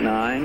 nine,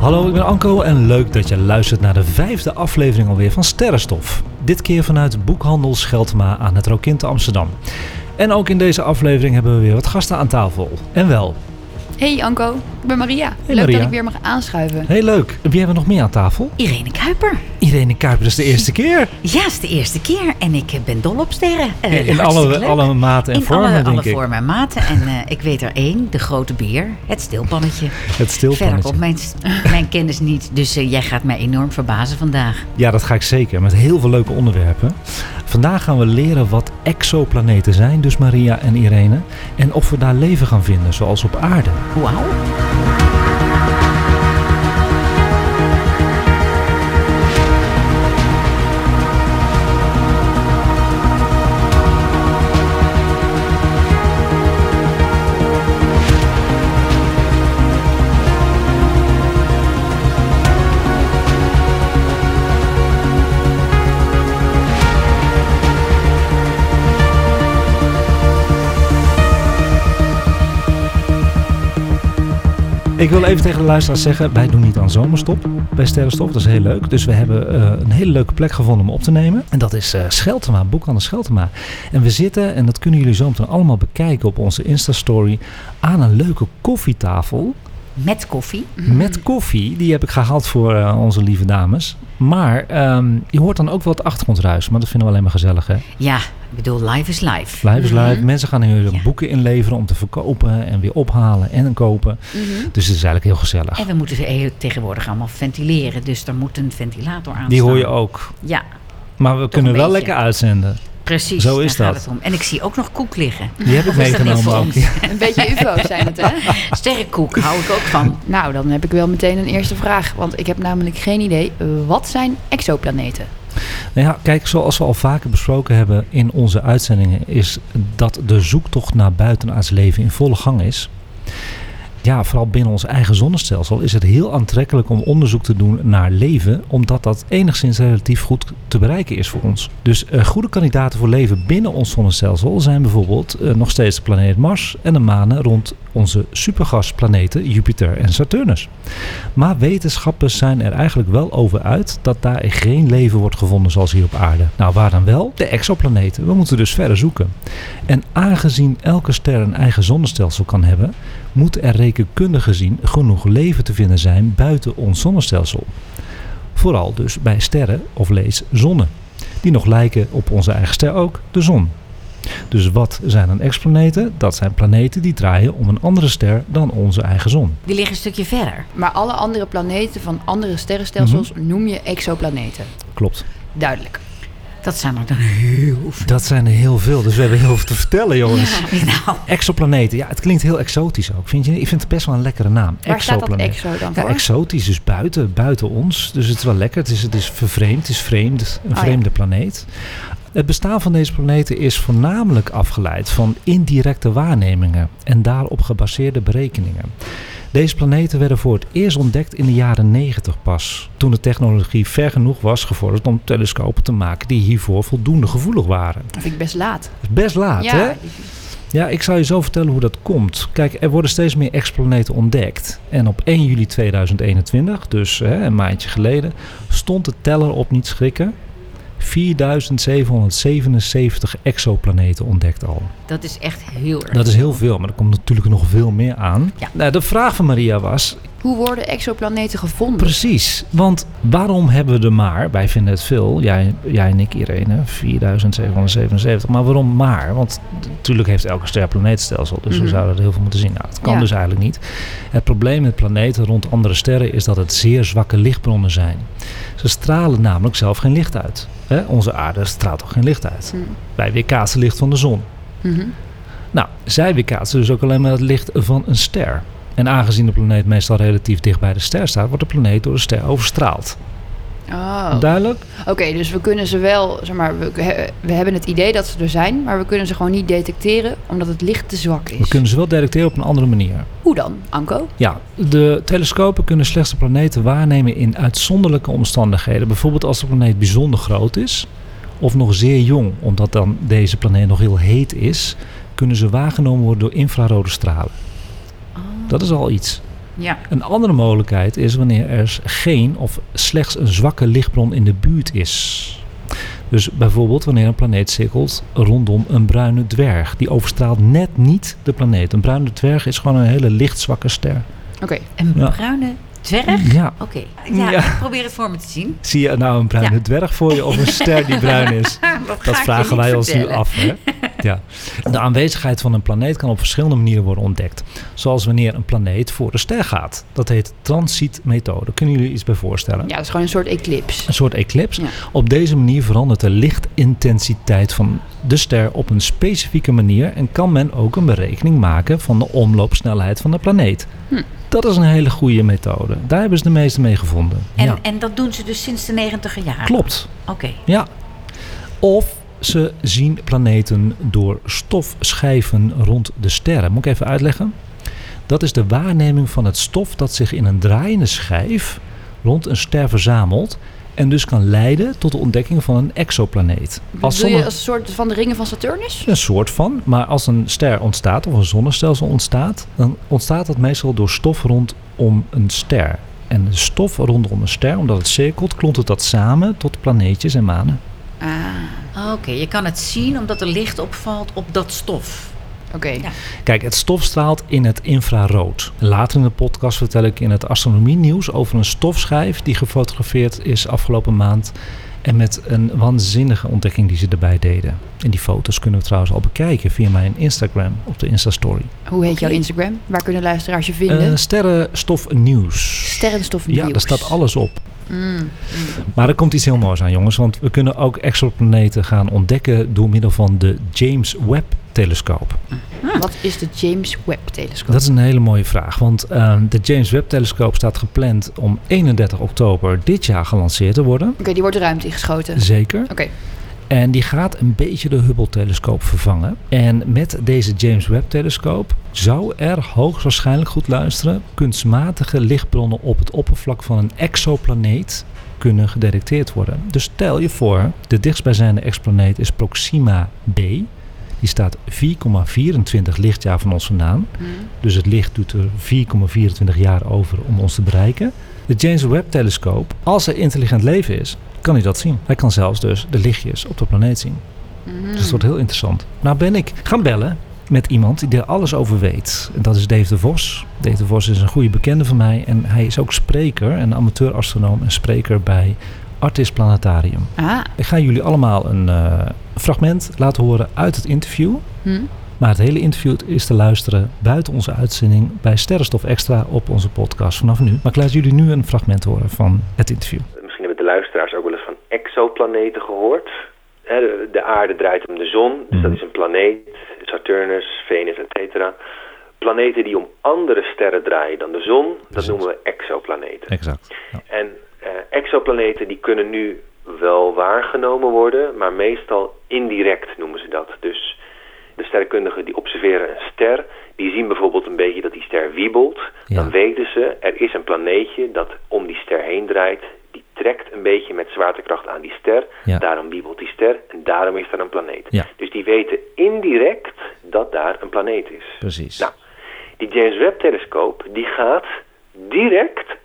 Hallo, ik ben Anko en leuk dat je luistert naar de vijfde aflevering alweer van Sterrenstof. Dit keer vanuit boekhandel Scheltema aan het Rokin te Amsterdam. En ook in deze aflevering hebben we weer wat gasten aan tafel. En wel, Hey Anko, ik ben Maria. Leuk Maria. dat ik weer mag aanschuiven. heel leuk. Wie hebben we nog meer aan tafel? Irene Kuiper. Irene Kuiper is de eerste keer. Ja, is de eerste keer en ik eh, ben dol op sterren. Eh, In hartstikke alle, leuk. alle maten en In vormen, alle, denk alle ik. vormen en maten. En eh, ik weet er één, de grote beer, het stilpannetje. Het Verder stilpannetje. komt mijn, mijn kennis niet, dus eh, jij gaat mij enorm verbazen vandaag. Ja, dat ga ik zeker. Met heel veel leuke onderwerpen. Vandaag gaan we leren wat exoplaneten zijn, dus Maria en Irene. En of we daar leven gaan vinden, zoals op aarde. Wauw. Ik wil even tegen de luisteraars zeggen, wij doen niet aan zomerstop bij Sterrenstof. Dat is heel leuk. Dus we hebben eh, een hele leuke plek gevonden om op te nemen. En dat is eh Scheltema, Boekhandel Scheltema. En we zitten, en dat kunnen jullie zo meteen allemaal bekijken op onze Insta-story, aan een leuke koffietafel Met koffie. met koffie. Die heb ik gehaald voor eh, onze lieve dames. Maar ehm, je hoort dan ook wel het achtergrondruis, maar dat vinden we alleen maar gezellig hè. Ja, ik bedoel, live is live. Live is live. Mensen gaan hun Mhm. Ja. boeken inleveren om te verkopen en weer ophalen en kopen. Dus het is eigenlijk heel gezellig. Mhm. En we moeten ze heel- tegenwoordig allemaal ventileren, dus er moet een ventilator aan Die hoor je staan. ook. Ja, Maar we kunnen een wel beetje. lekker uitzenden. precies. Zo is daar gaat dat. het om. En ik zie ook nog koek liggen. Die heb ik is dat niet meegenomen voor ook. ons? Ja. Een beetje ufo's zijn het, hè? Sterrenkoek hou ik ook van. Nou, dan heb ik wel meteen een eerste vraag. Want ik heb namelijk geen idee. eh, Wat zijn exoplaneten? Nou ja, kijk, zoals we al vaker besproken hebben in onze uitzendingen, is dat de zoektocht naar buitenaards leven in volle gang is. Ja, vooral binnen ons eigen zonnestelsel is het heel aantrekkelijk om onderzoek te doen naar leven, omdat dat enigszins relatief goed te bereiken is voor ons. Dus eh, goede kandidaten voor leven binnen ons zonnestelsel zijn bijvoorbeeld eh, nog steeds de planeet Mars en de manen rond onze supergasplaneten Jupiter en Saturnus. Maar wetenschappers zijn er eigenlijk wel over uit dat daar geen leven wordt gevonden zoals hier op aarde. Nou, waar dan wel? De exoplaneten. We moeten dus verder zoeken. En aangezien elke ster een eigen zonnestelsel kan hebben, moet er rekenkundig gezien genoeg leven te vinden zijn buiten ons zonnestelsel. Vooral dus bij sterren, of lees zonnen, die nog lijken op onze eigen ster ook, de zon. Dus wat zijn dan exoplaneten? Dat zijn planeten die draaien om een andere ster dan onze eigen zon. Die liggen een stukje verder. Maar alle andere planeten van andere sterrenstelsels Mhm. noem je exoplaneten. Klopt. Duidelijk. Dat zijn er dan heel veel. Dat zijn er heel veel, dus we hebben heel veel te vertellen, jongens. Nou, Exoplaneten, ja, het klinkt heel exotisch ook. Vind je? niet? Ik vind het best wel een lekkere naam. Waar staat dat Exoplaneet. exo dan Ja, voor? exotisch, dus buiten, buiten ons. Dus het is wel lekker. Het is, het is vervreemd, het is vreemd, een Ah, ja. vreemde planeet. Het bestaan van deze planeten is voornamelijk afgeleid van indirecte waarnemingen en daarop gebaseerde berekeningen. Deze planeten werden voor het eerst ontdekt in de jaren 90 pas, toen de technologie ver genoeg was gevorderd om telescopen te maken die hiervoor voldoende gevoelig waren. Dat vind ik best laat. Het is Best laat, hè? ja, Ja, ik zal je zo vertellen hoe dat komt. Kijk, er worden steeds meer exoplaneten ontdekt. En op 1 juli 2021, dus hè, een maandje geleden, stond de teller op niet schrikken. 4777 exoplaneten ontdekt al. dat is echt heel erg. Dat is heel veel, maar er komt natuurlijk nog veel meer aan. Ja. Nou, de vraag van Maria was, hoe worden exoplaneten gevonden? Precies, want waarom hebben we er maar, wij vinden het veel, jij, jij en ik Irene, 4777, maar waarom maar? Want t- natuurlijk heeft elke ster een planeetstelsel, dus we Mhm. zouden er heel veel moeten zien. Nou, dat kan Ja. dus eigenlijk niet. Het probleem met planeten rond andere sterren is dat het zeer zwakke lichtbronnen zijn. Ze stralen namelijk zelf geen licht uit. Hè? Onze aarde straalt ook geen licht uit. Hm. Wij weerkaatsen licht van de zon. Mhm. Nou, zij weerkaatsen dus ook alleen maar het licht van een ster. En aangezien de planeet meestal relatief dicht bij de ster staat, wordt de planeet door de ster overstraald. Oh. Duidelijk? Oké, dus we kunnen ze wel, zeg maar, we, we hebben het idee dat ze er zijn, maar we kunnen ze gewoon niet detecteren omdat het licht te zwak is. We kunnen ze wel detecteren op een andere manier. Hoe dan, Anko? Ja, de telescopen kunnen slechts de planeten waarnemen in uitzonderlijke omstandigheden. Bijvoorbeeld als de planeet bijzonder groot is of nog zeer jong, omdat dan deze planeet nog heel heet is, kunnen ze waargenomen worden door infrarode stralen. Dat is al iets. Ja. Een andere mogelijkheid is wanneer er geen of slechts een zwakke lichtbron in de buurt is. Dus bijvoorbeeld wanneer een planeet cirkelt rondom een bruine dwerg. Die overstraalt net niet de planeet. Een bruine dwerg is gewoon een hele lichtzwakke ster. Oké, Een Ja. bruine dwerg? Ja. Oké. Ja, Ja. ik probeer het voor me te zien. Zie je nou een bruine Ja. dwerg voor je of een ster die bruin is? dat Dat vragen wij ons nu af. Hè? Ja. De aanwezigheid van een planeet kan op verschillende manieren worden ontdekt. Zoals wanneer een planeet voor de ster gaat. Dat heet transitmethode. Kunnen jullie iets bij voorstellen? ja, dat is gewoon een soort eclipse. Een soort eclips. Ja. Op deze manier verandert de lichtintensiteit van de ster op een specifieke manier en kan men ook een berekening maken van de omloopsnelheid van de planeet. Hm. Dat is een hele goede methode. Daar hebben ze de meeste mee gevonden. En, Ja. en dat doen ze dus sinds de negentiger jaren? Klopt. Oké. Ja. Of ze zien planeten door stofschijven rond de sterren. Moet ik even uitleggen? Dat is de waarneming van het stof dat zich in een draaiende schijf rond een ster verzamelt. En dus kan leiden tot de ontdekking van een exoplaneet. Als Doe je sommige- als een soort van de ringen van Saturnus? een soort van, maar als een ster ontstaat of een zonnestelsel ontstaat, dan ontstaat dat meestal door stof rondom een ster. En de stof rondom een ster, omdat het cirkelt, klont het dat samen tot planeetjes en manen. Ah, Oké, je kan het zien omdat er licht opvalt op dat stof. oké. Ja. Kijk, het stof straalt in het infrarood. Later in de podcast vertel ik in het astronomie nieuws over een stofschijf die gefotografeerd is afgelopen maand. En met een waanzinnige ontdekking die ze erbij deden. En die foto's kunnen we trouwens al bekijken via mijn Instagram op de Insta-story. Hoe heet jouw Instagram? Waar kunnen luisteraars je vinden? Eh sterrenstof nieuws. Sterrenstof Ja, daar staat alles op. Mm. Maar er komt iets heel moois aan, jongens. Want we kunnen ook exoplaneten gaan ontdekken door middel van de James Webb-telescoop. Wat is de James Webb-telescoop? Dat is een hele mooie vraag. Want eh, de James Webb-telescoop staat gepland om 31 oktober dit jaar gelanceerd te worden. Oké, die wordt de ruimte ingeschoten. Zeker. Oké. En die gaat een beetje de Hubble-telescoop vervangen. En met deze James Webb-telescoop zou er hoogstwaarschijnlijk goed luisteren kunstmatige lichtbronnen op het oppervlak van een exoplaneet kunnen gedetecteerd worden. Dus stel je voor, de dichtstbijzijnde exoplaneet is Proxima b. Die staat 4,24 lichtjaar van ons vandaan. Mm. Dus het licht doet er 4,24 jaar over om ons te bereiken. De James Webb-telescoop, als er intelligent leven is, kan hij dat zien. Hij kan zelfs dus de lichtjes op de planeet zien. Dus dat wordt heel interessant. Nou ben ik gaan bellen met iemand die er alles over weet. En dat is Dave de Vos. Dave de Vos is een goede bekende van mij. En hij is ook spreker, een amateur-astronoom en spreker bij Artis Planetarium. Ah, Ik ga jullie allemaal een eh, fragment laten horen uit het interview. hm. Maar het hele interview is te luisteren buiten onze uitzending bij Sterrenstof Extra op onze podcast vanaf nu. Maar ik laat jullie nu een fragment horen van het interview. Misschien hebben de luisteraars ook wel eens van exoplaneten gehoord. Hè, de, de aarde draait om de zon, dus dat is een planeet. Saturnus, Venus, et cetera. Planeten die om andere sterren draaien dan de zon, dat Precies. noemen we exoplaneten. Exact. Ja. En eh, exoplaneten die kunnen nu wel waargenomen worden, maar meestal indirect noemen ze dat. Dus de sterrenkundigen die observeren een ster, die zien bijvoorbeeld een beetje dat die ster wiebelt. Ja. Dan weten ze, er is een planeetje dat om die ster heen draait. Die trekt een beetje met zwaartekracht aan die ster. Ja. Daarom wiebelt die ster en daarom is er een planeet. Ja. Dus die weten indirect dat daar een planeet is. Precies. Nou, die James Webb-telescoop die gaat direct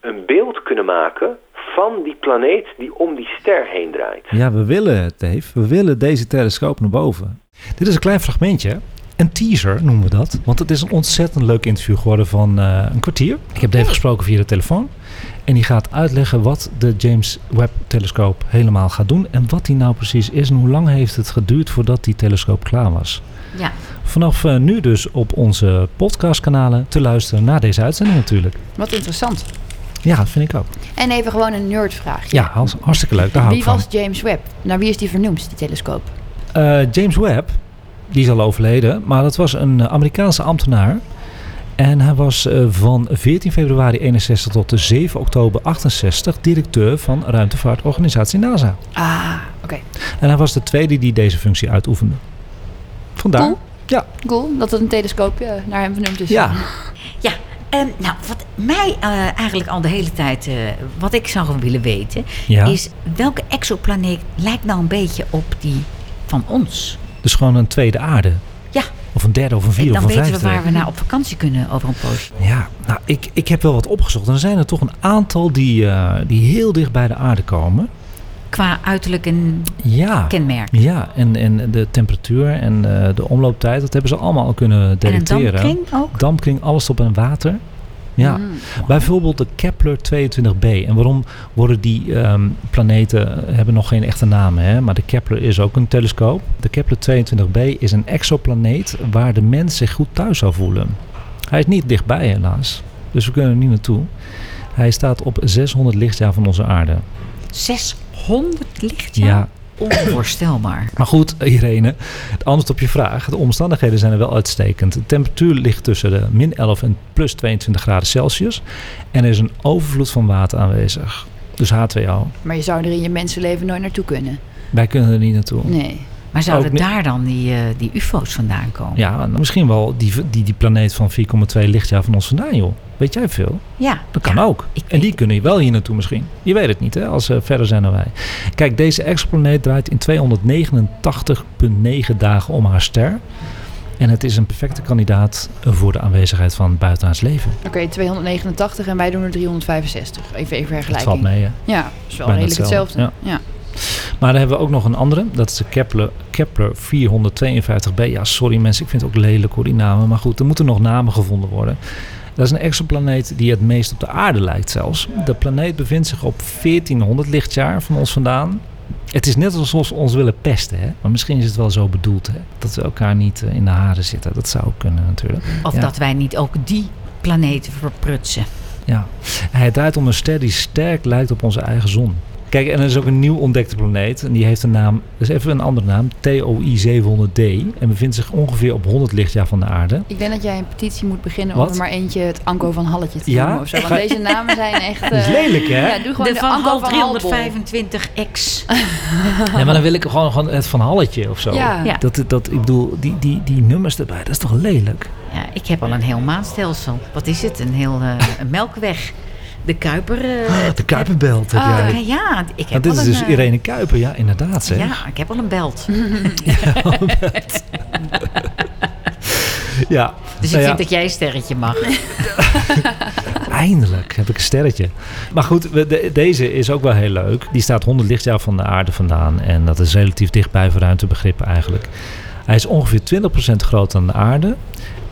een beeld kunnen maken van die planeet die om die ster heen draait. Ja, we willen het, Dave. We willen deze telescoop naar boven. Dit is een klein fragmentje. Een teaser noemen we dat. Want het is een ontzettend leuk interview geworden van eh, een kwartier. Ik heb Dave gesproken via de telefoon. En die gaat uitleggen wat de James Webb-telescoop helemaal gaat doen. En wat die nou precies is. En hoe lang heeft het geduurd voordat die telescoop klaar was. Ja. Vanaf eh, nu dus op onze podcastkanalen te luisteren naar deze uitzending natuurlijk. Wat interessant. Ja, dat vind ik ook. En even gewoon een nerdvraagje. Ja, Hans, hartstikke leuk. Daar hou Wie ik van. was James Webb? Naar wie is die vernoemd, die telescoop? Eh, James Webb, die is al overleden, maar dat was een eh, Amerikaanse ambtenaar. En hij was eh, van 14 februari 61 tot 7 oktober 68 directeur van ruimtevaartorganisatie NASA. Ah, oké. En hij was de tweede die deze functie uitoefende. Vandaar. Cool. Ja, Cool dat het een telescoopje naar hem vernoemd is. ja. Ja, ehm, nou, wat mij eh, eigenlijk al de hele tijd, eh, wat ik zou willen weten, Ja. is welke exoplaneet lijkt nou een beetje op die van ons? Dus gewoon een tweede aarde. Ja, Of een derde, of een vierde, dan of een weten we vijfde. waar we naar op vakantie kunnen over een poosje. Ja, nou, ik, ik heb wel wat opgezocht. En er zijn er toch een aantal die, eh, die heel dicht bij de aarde komen. Qua uiterlijk en Ja. kenmerk. Ja, en, en de temperatuur en eh, de omlooptijd, dat hebben ze allemaal al kunnen En een detecteren. dampkring Mm. ook? Dampkring, alles op en water. Ja, bijvoorbeeld de Kepler 22b. En waarom worden die ehm, planeten, eh, hebben nog geen echte namen, hè? maar de Kepler is ook een telescoop. De Kepler 22b is een exoplaneet waar de mens zich goed thuis zou voelen. Hij is niet dichtbij helaas, dus we kunnen er niet naartoe. Hij staat op 600 lichtjaar van onze aarde. 600 lichtjaar? ja Onvoorstelbaar. maar goed, Irene, het antwoord op je vraag. De omstandigheden zijn er wel uitstekend. De temperatuur ligt tussen de min 11 en plus 22 graden Celsius. En er is een overvloed van water aanwezig. Dus H2O. Maar je zou er in je mensenleven nooit naartoe kunnen. Wij kunnen er niet naartoe. Nee. Maar zouden Ook niet- daar dan die, eh, die UFO's vandaan komen? Ja, en misschien wel die, die, die planeet van 4,2 lichtjaar van ons vandaan, joh. Weet jij veel? Ja. Dat kan Ja, ook. ik En weet die kunnen wel hier naartoe misschien. Je weet het niet, hè, als ze verder zijn dan wij. Kijk, deze exoplaneet draait in 289,9 dagen om haar ster. En het is een perfecte kandidaat voor de aanwezigheid van buitenaards leven. Oké, 289 en wij doen er 365. Even even Dat vergelijking. valt mee, hè. Ja, dat is wel Bijna redelijk hetzelfde. hetzelfde, Ja. Maar dan hebben we ook nog een andere. Dat is de Kepler, Kepler 452b. Ja, sorry mensen, ik vind het ook lelijk hoor, die namen. Maar goed, er moeten nog namen gevonden worden. Dat is een exoplaneet die het meest op de aarde lijkt zelfs. De planeet bevindt zich op 1400 lichtjaar van ons vandaan. Het is net alsof ze ons willen pesten, hè? Maar misschien is het wel zo bedoeld, hè? Dat we elkaar niet eh, in de haren zitten. Dat zou ook kunnen natuurlijk. Of Ja. dat wij niet ook die planeten verprutsen. Ja. Hij draait om een ster die sterk lijkt op onze eigen zon. Kijk, en er is ook een nieuw ontdekte planeet. En die heeft een naam, dus even een andere naam, TOI 700d. En bevindt zich ongeveer op 100 lichtjaar van de aarde. Ik denk dat jij een petitie moet beginnen Wat? om er maar eentje het Anko van Halletje te Ja? noemen of zo. Want Ga- deze namen zijn echt... Dat is eh, lelijk, hè? ja, doe gewoon de, De van Anko Hal van Halbol. 325X. Ja, maar dan wil ik gewoon, gewoon het van Halletje of zo. Ja. Ja. Dat, dat, ik bedoel, die, die, die nummers erbij, dat is toch lelijk? Ja, ik heb al een heel maanstelsel. Wat is het? Een heel eh, een melkweg. De Kuiper. eh, De Kuiperbelt heb jij. Ah, ja, ja, ik Ja, heb Ah, dit al is een, dus eh, Irene Kuiper, ja, inderdaad zeg. Mm-hmm. Ja, ik heb al een belt. Ja. Dus ik Nou ja. vind dat jij een sterretje mag. Eindelijk heb ik een sterretje. Maar goed, we- de- deze is ook wel heel leuk. Die staat 100 lichtjaar van de aarde vandaan. En dat is relatief dichtbij voor ruimtebegrippen eigenlijk. Hij is ongeveer 20% groter dan de aarde.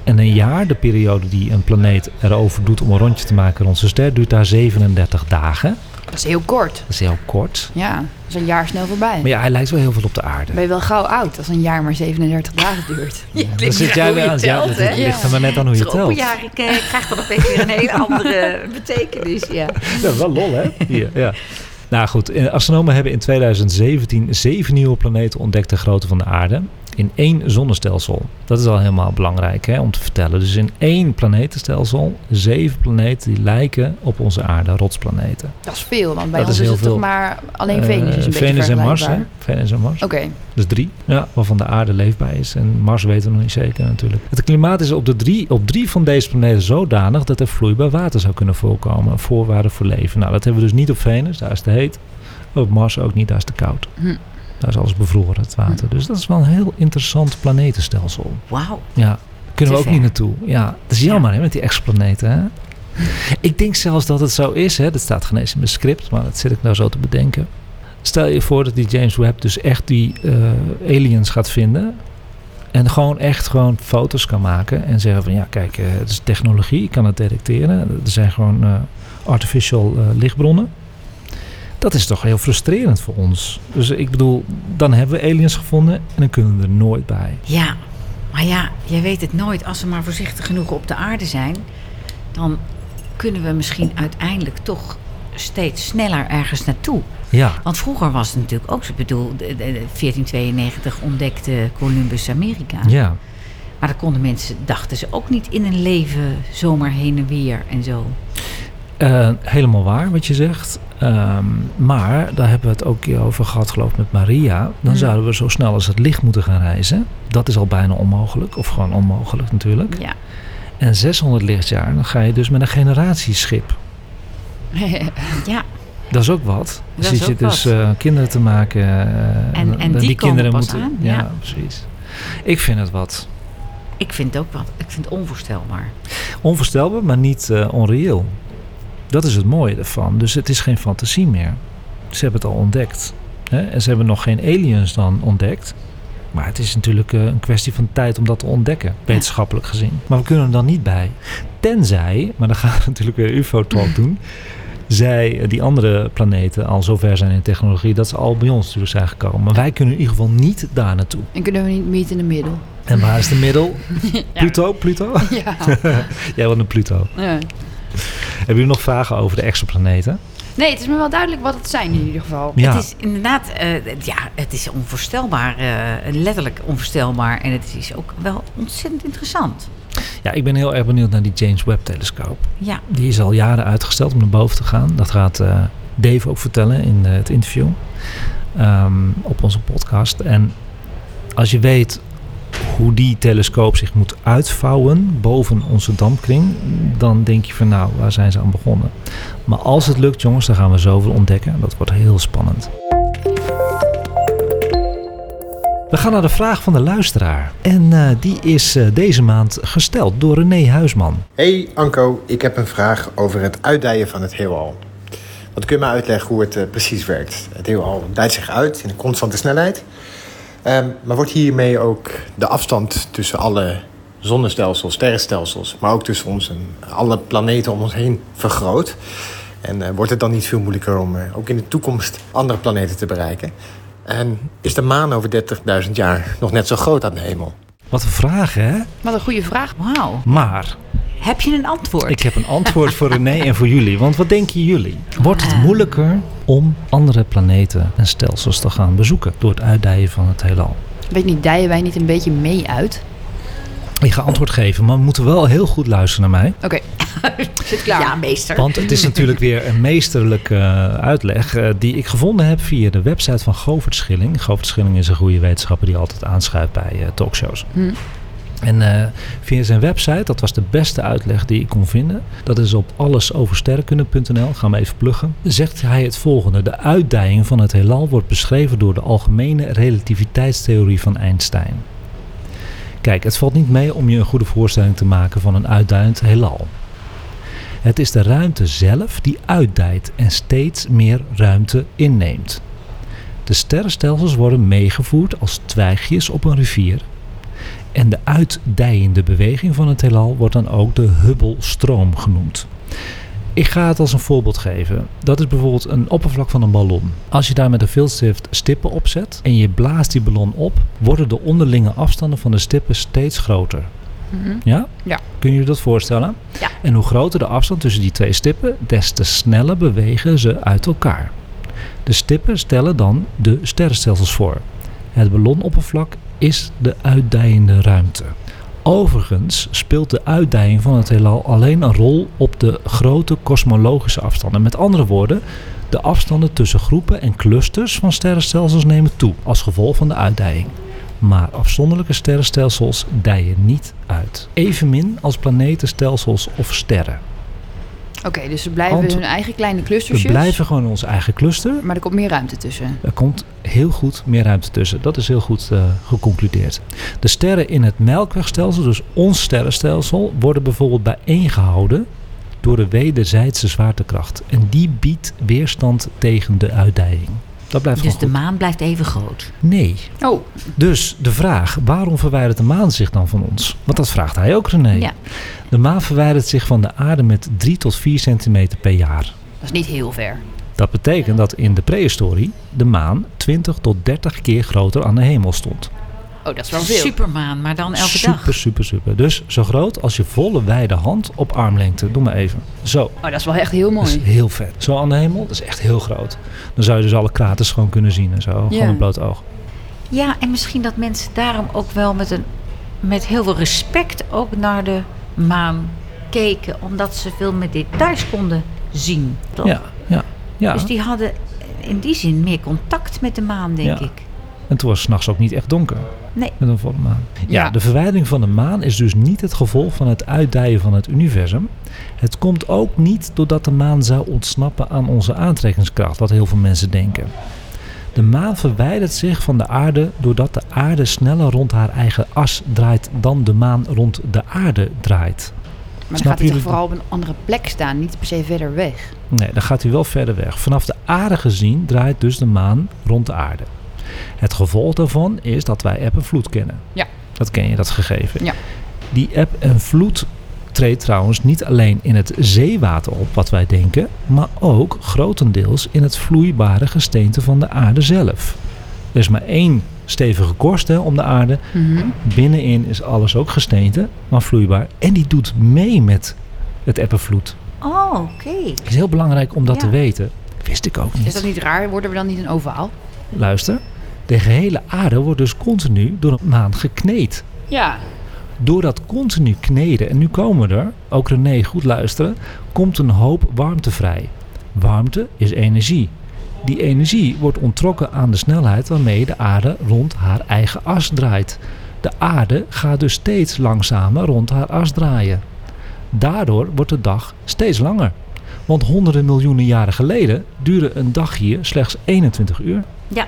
En een jaar, de periode die een planeet erover doet om een rondje te maken rond zijn ster, duurt daar 37 dagen. Dat is heel kort. Dat is heel kort. Ja, dat is een jaar snel voorbij. Maar ja, hij lijkt wel heel veel op de aarde. Ben je wel gauw oud als een jaar maar 37 dagen duurt. Daar zit jij weer aan. Ja, dat hè? ligt er maar net aan hoe je telt. Ja, Troppenjaar, ik eh, krijg dan opeens weer een hele andere Dus betekenis. Ja. wel lol hè? Hier, ja. Nou goed, eh, astronomen hebben in 2017 zeven nieuwe planeten ontdekt ter grootte van de aarde. In één zonnestelsel. Dat is al helemaal belangrijk hè, om te vertellen. Dus in één planetenstelsel, zeven planeten die lijken op onze aarde, rotsplaneten. Dat is veel, want bij Dat ons is is, heel het toch veel. maar... Alleen Eh, Venus is een Venus beetje en Mars, hè? vergelijkbaar. Venus en Mars. Oké, Dus drie, ja, waarvan de aarde leefbaar is. En Mars weten we nog niet zeker natuurlijk. Het klimaat is op, de drie, op drie van deze planeten zodanig dat er vloeibaar water zou kunnen voorkomen. Een Voorwaarde voor leven. Nou, dat hebben we dus niet op Venus, daar is het te heet. Op Mars ook niet, daar is het te koud. Hm. Daar is alles bevroren, het water. Dus dat is wel een heel interessant planetenstelsel. Wauw. Ja, kunnen we Te ook ver. niet naartoe. Ja, dat is jammer hè, met die exoplaneten. Hè? Ik denk zelfs dat het zo is. Hè? Dat staat geen eens in mijn script, maar dat zit ik nou zo te bedenken. Stel je voor dat die James Webb dus echt die eh, aliens gaat vinden. En gewoon echt gewoon foto's kan maken. En zeggen van ja, kijk, eh, het is technologie. Ik kan het detecteren. Er zijn gewoon eh, artificial eh, lichtbronnen. Dat is toch heel frustrerend voor ons. Dus ik bedoel, dan hebben we aliens gevonden en dan kunnen we er nooit bij. Ja, maar ja, jij weet het nooit. Als we maar voorzichtig genoeg op de aarde zijn, dan kunnen we misschien uiteindelijk toch steeds sneller ergens naartoe. Ja. Want vroeger was het natuurlijk ook zo. Ik bedoel, de- de- de 1492 ontdekte Columbus Amerika. Ja, Maar dat konden mensen, dachten ze ook niet in een leven zomaar heen en weer en zo. Eh, helemaal waar wat je zegt. Ehm, maar daar hebben we het ook een keer over gehad, geloof ik, met Maria. Dan Ja. zouden we zo snel als het licht moeten gaan reizen. Dat is al bijna onmogelijk, of gewoon onmogelijk natuurlijk. Ja. En 600 lichtjaar, dan ga je dus met een generatieschip. ja. Dat is ook wat. Dat Zit is je ook dus wat. eh, kinderen te maken. eh, En- en die komen pas aan, Ja, ja. precies. Ik vind het wat. Ik vind het ook wat. Ik vind het onvoorstelbaar. Onvoorstelbaar, maar niet eh, onreëel. Dat is het mooie ervan. Dus het is geen fantasie meer. Ze hebben het al ontdekt. Hè? En ze hebben nog geen aliens dan ontdekt. Maar het is natuurlijk eh, een kwestie van tijd om dat te ontdekken, wetenschappelijk gezien. Maar we kunnen er dan niet bij. Tenzij, maar dan gaan we natuurlijk weer UFO-talk doen. Zij, eh, die andere planeten, al zover zijn in technologie dat ze al bij ons natuurlijk zijn gekomen. Maar wij kunnen in ieder geval niet daar naartoe. En kunnen we niet meet in de middel? En waar is de middel? Pluto? Pluto? Ja. Jij wordt een Pluto. Hebben jullie nog vragen over de exoplaneten? Nee, het is me wel duidelijk wat het zijn in ieder geval. Ja, Het is inderdaad, eh, het- ja, het is onvoorstelbaar. eh, letterlijk onvoorstelbaar. En het is ook wel ontzettend interessant. ja, ik ben heel erg benieuwd naar die James Webb-telescoop. Ja, Die is al jaren uitgesteld om naar boven te gaan. Dat gaat eh, Dave ook vertellen in eh, het interview ehm, op onze podcast. En als je weet hoe die telescoop zich moet uitvouwen boven onze dampkring, dan denk je van nou, waar zijn ze aan begonnen? Maar als het lukt, jongens, dan gaan we zoveel ontdekken. Dat wordt heel spannend. We gaan naar de vraag van de luisteraar. En eh, die is eh, deze maand gesteld door René Huisman. Hey Anko, ik heb een vraag over het uitdijen van het heelal. Wat kun je me uitleggen hoe het eh, precies werkt? Het heelal dijt zich uit in een constante snelheid. Ehm, maar wordt hiermee ook de afstand tussen alle zonnestelsels, sterrenstelsels, maar ook tussen ons en alle planeten om ons heen vergroot? En eh, wordt het dan niet veel moeilijker om eh, ook in de toekomst andere planeten te bereiken? En is de maan over 30.000 jaar nog net zo groot aan de hemel? Wat een vraag, hè? Wat een goede vraag. wauw. Maar Heb je een antwoord? ik heb een antwoord voor René en voor jullie. Want wat denken jullie? Wordt het moeilijker om andere planeten en stelsels te gaan bezoeken door het uitdijen van het heelal? Weet niet, dijen wij niet een beetje mee uit? Ik ga antwoord geven, maar we moeten wel heel goed luisteren naar mij. Oké, zit klaar. Ja, meester. Want het is natuurlijk weer een meesterlijke eh, uitleg eh, die ik gevonden heb via de website van Govert Schilling. Govert Schilling is een goede wetenschapper die altijd aanschuift bij eh, talkshows. Hmm. En eh, via zijn website, dat was de beste uitleg die ik kon vinden. Dat is op allesoversterrenkunde.nl. Gaan we even pluggen. Zegt hij het volgende: De uitdijing van het heelal wordt beschreven door de algemene relativiteitstheorie van Einstein. Kijk, het valt niet mee om je een goede voorstelling te maken van een uitdijend heelal. Het is de ruimte zelf die uitdijt en steeds meer ruimte inneemt. De sterrenstelsels worden meegevoerd als twijgjes op een rivier. En de uitdijende beweging van het heelal wordt dan ook de Hubble-stroom genoemd. Ik ga het als een voorbeeld geven. Dat is bijvoorbeeld een oppervlak van een ballon. Als je daar met een filstift stippen op zet en je blaast die ballon op, worden de onderlinge afstanden van de stippen steeds groter. Mhm. Ja? Ja. Kunnen jullie dat voorstellen? Ja. En hoe groter de afstand tussen die twee stippen, des te sneller bewegen ze uit elkaar. De stippen stellen dan de sterrenstelsels voor. Het ballonoppervlak is de uitdijende ruimte. Overigens speelt de uitdijing van het heelal alleen een rol op de grote kosmologische afstanden. Met andere woorden, de afstanden tussen groepen en clusters van sterrenstelsels nemen toe als gevolg van de uitdijing. Maar afzonderlijke sterrenstelsels dijen niet uit. Evenmin als planetenstelsels of sterren. Oké, dus ze blijven Ant- hun eigen kleine clustersjes. We blijven gewoon in ons eigen cluster. Maar er komt meer ruimte tussen. Er komt heel goed meer ruimte tussen. Dat is heel goed eh, geconcludeerd. De sterren in het Melkwegstelsel, dus ons sterrenstelsel, worden bijvoorbeeld bijeengehouden door de wederzijdse zwaartekracht. En die biedt weerstand tegen de uitdijing. Dat blijft dus de gewoon goed. maan blijft even groot. Nee. Oh, Dus de vraag, waarom verwijdert de maan zich dan van ons? Want dat vraagt hij ook, René. Ja. De maan verwijdert zich van de aarde met 3 tot 4 centimeter per jaar. dat is niet heel ver. Dat betekent dat in de prehistorie de maan 20 tot 30 keer groter aan de hemel stond. Oh, dat is wel veel. Supermaan, maar dan elke super, dag. super, super. Dus zo groot als je volle wijde hand op armlengte. Doe maar even. Zo. Oh, dat is wel echt heel Dat is mooi. heel vet. Zo aan de hemel, dat is echt heel groot. Dan zou je dus alle kraters gewoon kunnen zien en zo. Ja. Gewoon een bloot oog. Ja, en misschien dat mensen daarom ook wel met een met heel veel respect ook naar de maan keken. Omdat ze veel meer details konden zien. toch? Ja, ja, ja. Dus die hadden in die zin meer contact met de maan, denk Ja. ik. En toen was het s'nachts ook niet echt donker. Nee. Met een volle maan. Ja, Ja. de verwijdering van de maan is dus niet het gevolg van het uitdijen van het universum. Het komt ook niet doordat de maan zou ontsnappen aan onze aantrekkingskracht, wat heel veel mensen denken. De maan verwijdert zich van de aarde doordat de aarde sneller rond haar eigen as draait dan de maan rond de aarde draait. Maar Snappen dan gaat hij jullie toch vooral op een andere plek staan, niet per se verder weg. Nee, dan gaat hij wel verder weg. Vanaf de aarde gezien draait dus de maan rond de aarde. Het gevolg daarvan is dat wij eb en vloed kennen. Ja. Dat ken je, dat gegeven. Ja. Die eb en vloed treedt trouwens niet alleen in het zeewater op, wat wij denken, maar ook grotendeels in het vloeibare gesteente van de aarde zelf. Er is maar één stevige korst hè, om de aarde. Mhm. Binnenin is alles ook gesteente, maar vloeibaar. En die doet mee met het eb en vloed. Oh, oké. Het is heel belangrijk om dat Ja. te weten. Wist ik ook niet. Is dat niet raar? Worden we dan niet een ovaal? Luister, de gehele aarde wordt dus continu door een maan gekneed. Ja. Door dat continu kneden, en nu komen we er, ook René, goed luisteren, komt een hoop warmte vrij. Warmte is energie. Die energie wordt onttrokken aan de snelheid waarmee de aarde rond haar eigen as draait. De aarde gaat dus steeds langzamer rond haar as draaien. Daardoor wordt de dag steeds langer. Want honderden miljoenen jaren geleden duurde een dag hier slechts 21 uur.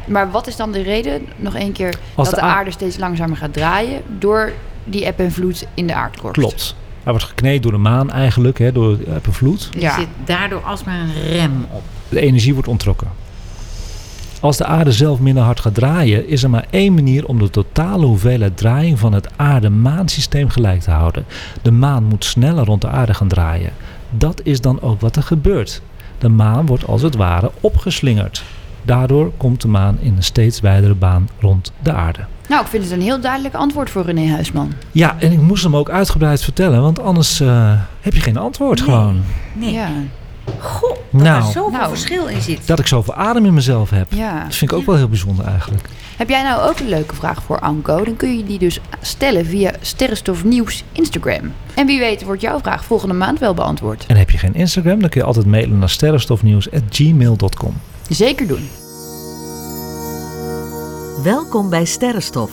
Maar wat is dan de reden, nog één keer, dat de de, aar- aarde steeds langzamer gaat draaien door die eb en vloed in de aardkorst? Klopt. Hij wordt gekneed door de maan eigenlijk, hè, door de eh, vloed. Er Ja. zit daardoor alsmaar een rem op. De energie wordt ontrokken. Als de aarde zelf minder hard gaat draaien, is er maar één manier om de totale hoeveelheid draaiing van het aarde-maansysteem gelijk te houden. De maan moet sneller rond de aarde gaan draaien. Dat is dan ook wat er gebeurt. De maan wordt als het ware opgeslingerd. Daardoor komt de maan in een steeds wijdere baan rond de aarde. Nou, ik vind het een heel duidelijk antwoord voor René Huisman. Ja, en ik moest hem ook uitgebreid vertellen, want anders eh, heb je geen antwoord Nee. gewoon. Nee. Ja. Goh, dat Nou. er zoveel Nou. verschil in zit. Dat ik zoveel adem in mezelf heb. ja. Dat vind ik ook wel heel bijzonder eigenlijk. Heb jij nou ook een leuke vraag voor Anko? Dan kun je die dus stellen via Sterrenstof Nieuws Instagram. En wie weet wordt jouw vraag volgende maand wel beantwoord. En heb je geen Instagram, dan kun je altijd mailen naar sterrenstofnieuws.gmail.com. Zeker doen. Welkom bij Sterrenstof,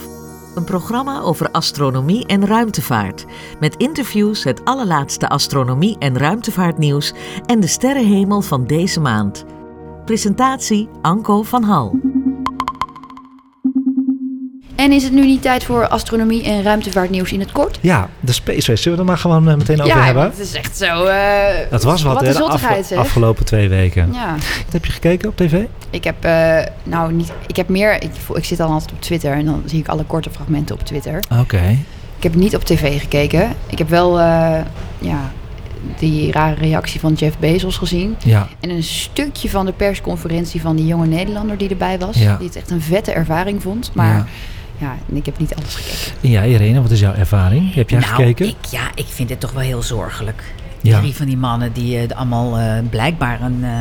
een programma over astronomie en ruimtevaart. Met interviews, het allerlaatste astronomie- en ruimtevaartnieuws en de sterrenhemel van deze maand. Presentatie Anko van Hal. En is het nu niet tijd voor astronomie en ruimtevaartnieuws in het kort? Ja, de Space Race, zullen we er maar gewoon eh, meteen over ja, hebben? want het is echt zo... eh, Dat was wat, wat hè, een de afge- zottigheid, zeg. afgelopen twee weken. Ja, Wat Heb je gekeken op tv? ik heb, eh, nou niet, ik heb meer, ik, voel- ik zit al altijd op Twitter en dan zie ik alle korte fragmenten op Twitter. Oké. Ik heb niet op tv gekeken. Ik heb wel, eh, ja, die rare reactie van Jeff Bezos gezien. Ja, En een stukje van de persconferentie van die jonge Nederlander die erbij was. Ja. Die het echt een vette ervaring vond. Maar Ja. ja, en ik heb niet alles gekeken. en jij Irene, wat is jouw ervaring? Heb jij nou, gekeken? Ik, ja, ik vind het toch wel heel zorgelijk. Ja. Drie van die mannen die eh, allemaal eh, blijkbaar een eh,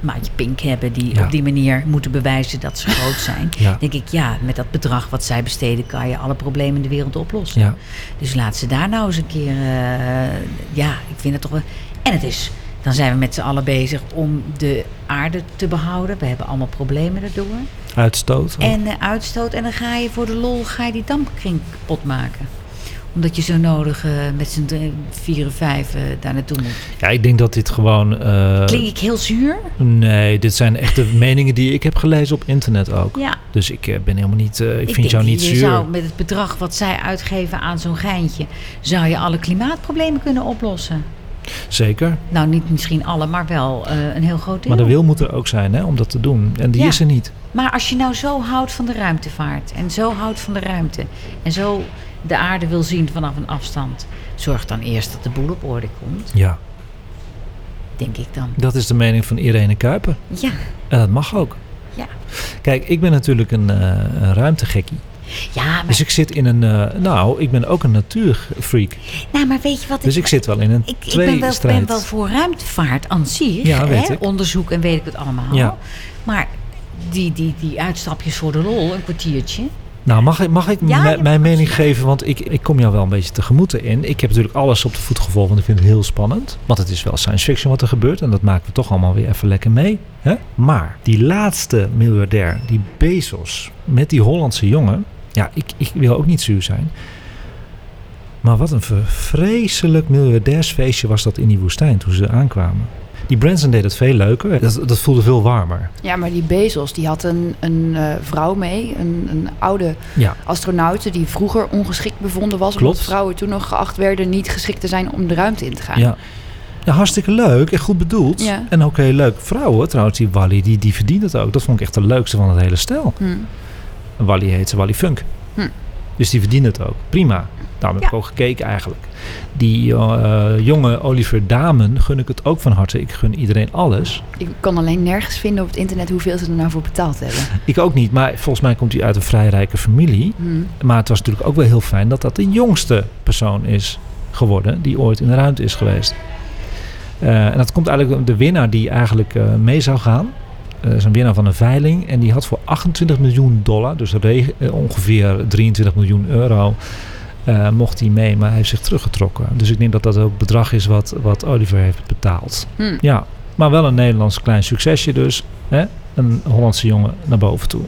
maatje pink hebben... die Ja. op die manier moeten bewijzen dat ze groot zijn. Ja. denk ik, ja, met dat bedrag wat zij besteden... kan je alle problemen in de wereld oplossen. Ja. Dus laat ze daar nou eens een keer... eh, ja, ik vind het toch wel... En het is... Dan zijn we met z'n allen bezig om de aarde te behouden. We hebben allemaal problemen daardoor. Uitstoot? En eh, uitstoot. En dan ga je voor de lol ga je die dampkring kapot maken. Omdat je zo nodig eh, met z'n drie- vier, vijf eh, daar naartoe moet. Ja, ik denk dat dit gewoon... eh, Klink ik heel zuur? nee, dit zijn echt de meningen die ik heb gelezen op internet ook. Ja. Dus ik eh, ben helemaal niet... eh, ik, Ik vind denk, jou niet je zuur. zou met het bedrag wat zij uitgeven aan zo'n geintje... zou je alle klimaatproblemen kunnen oplossen. Zeker. Nou, niet misschien alle, maar wel eh, een heel groot deel. Maar de wil moet er ook zijn hè, om dat te doen. En die Ja. is er niet. Maar als je nou zo houdt van de ruimtevaart en zo houdt van de ruimte en zo de aarde wil zien vanaf een afstand, zorg dan eerst dat de boel op orde komt, Ja. denk ik dan. Dat is de mening van Irene Kuiper. Ja, En dat mag ook. ja. Kijk, ik ben natuurlijk een, eh, een ruimtegekkie. Ja, maar, Dus ik zit in een... eh, nou, ik ben ook een natuurfreak. nou, maar weet je wat? Dus ik zit wel in een ik, ik ben, wel, tweestrijd. ben wel voor ruimtevaart aan zich, Ja, weet hè? ik. onderzoek en weet ik het allemaal. Ja. Maar die, die, die uitstapjes voor de lol, een kwartiertje, Nou, mag ik, mag ik Ja, mijn- je mijn mag mening absoluut. geven? Want ik, ik kom jou wel een beetje tegemoet in. Ik heb natuurlijk alles op de voet gevolgd, want ik vind het heel spannend. Want het is wel science fiction wat er gebeurt. En dat maken we toch allemaal weer even lekker mee. Hè? Maar die laatste miljardair, die Bezos, met die Hollandse jongen. Ja, ik, ik wil ook niet zuur zijn. Maar wat een ver- vreselijk miljardairsfeestje was dat in die woestijn toen ze aankwamen. Die Branson deed het veel leuker. Dat, dat voelde veel warmer. Ja, maar die Bezos die had een, een eh, vrouw mee, een, een oude Ja. astronaute die vroeger ongeschikt bevonden was. Klopt. Omdat vrouwen toen nog geacht werden niet geschikt te zijn om de ruimte in te gaan. Ja. ja, hartstikke leuk en goed bedoeld. Ja. En ook heel leuk. Vrouwen trouwens, die Wally, die, die verdient het ook. Dat vond ik echt de leukste van het hele stel. Hm. Wally heet ze Wally Funk. Hm. Dus die verdient het ook. Prima. Daarom heb ik ook gekeken eigenlijk. Die eh, jonge Oliver Damen gun ik het ook van harte. Ik gun iedereen alles. Ik kan alleen nergens vinden op het internet hoeveel ze er nou voor betaald hebben. Ik ook niet, maar volgens mij komt hij uit een vrij rijke familie. Hm. Maar het was natuurlijk ook wel heel fijn dat dat de jongste persoon is geworden die ooit in de ruimte is geweest. Eh, en dat komt eigenlijk de winnaar die eigenlijk eh, mee zou gaan. Eh, is een winnaar van een veiling. En die had voor 28 miljoen dollar, dus re- eh, ongeveer 23 miljoen euro, eh, mocht hij mee. Maar hij heeft zich teruggetrokken. Dus ik denk dat dat ook het bedrag is wat, wat Oliver heeft betaald. Hm. Ja, maar wel een Nederlands klein succesje dus. Hè? Een Hollandse jongen naar boven toe.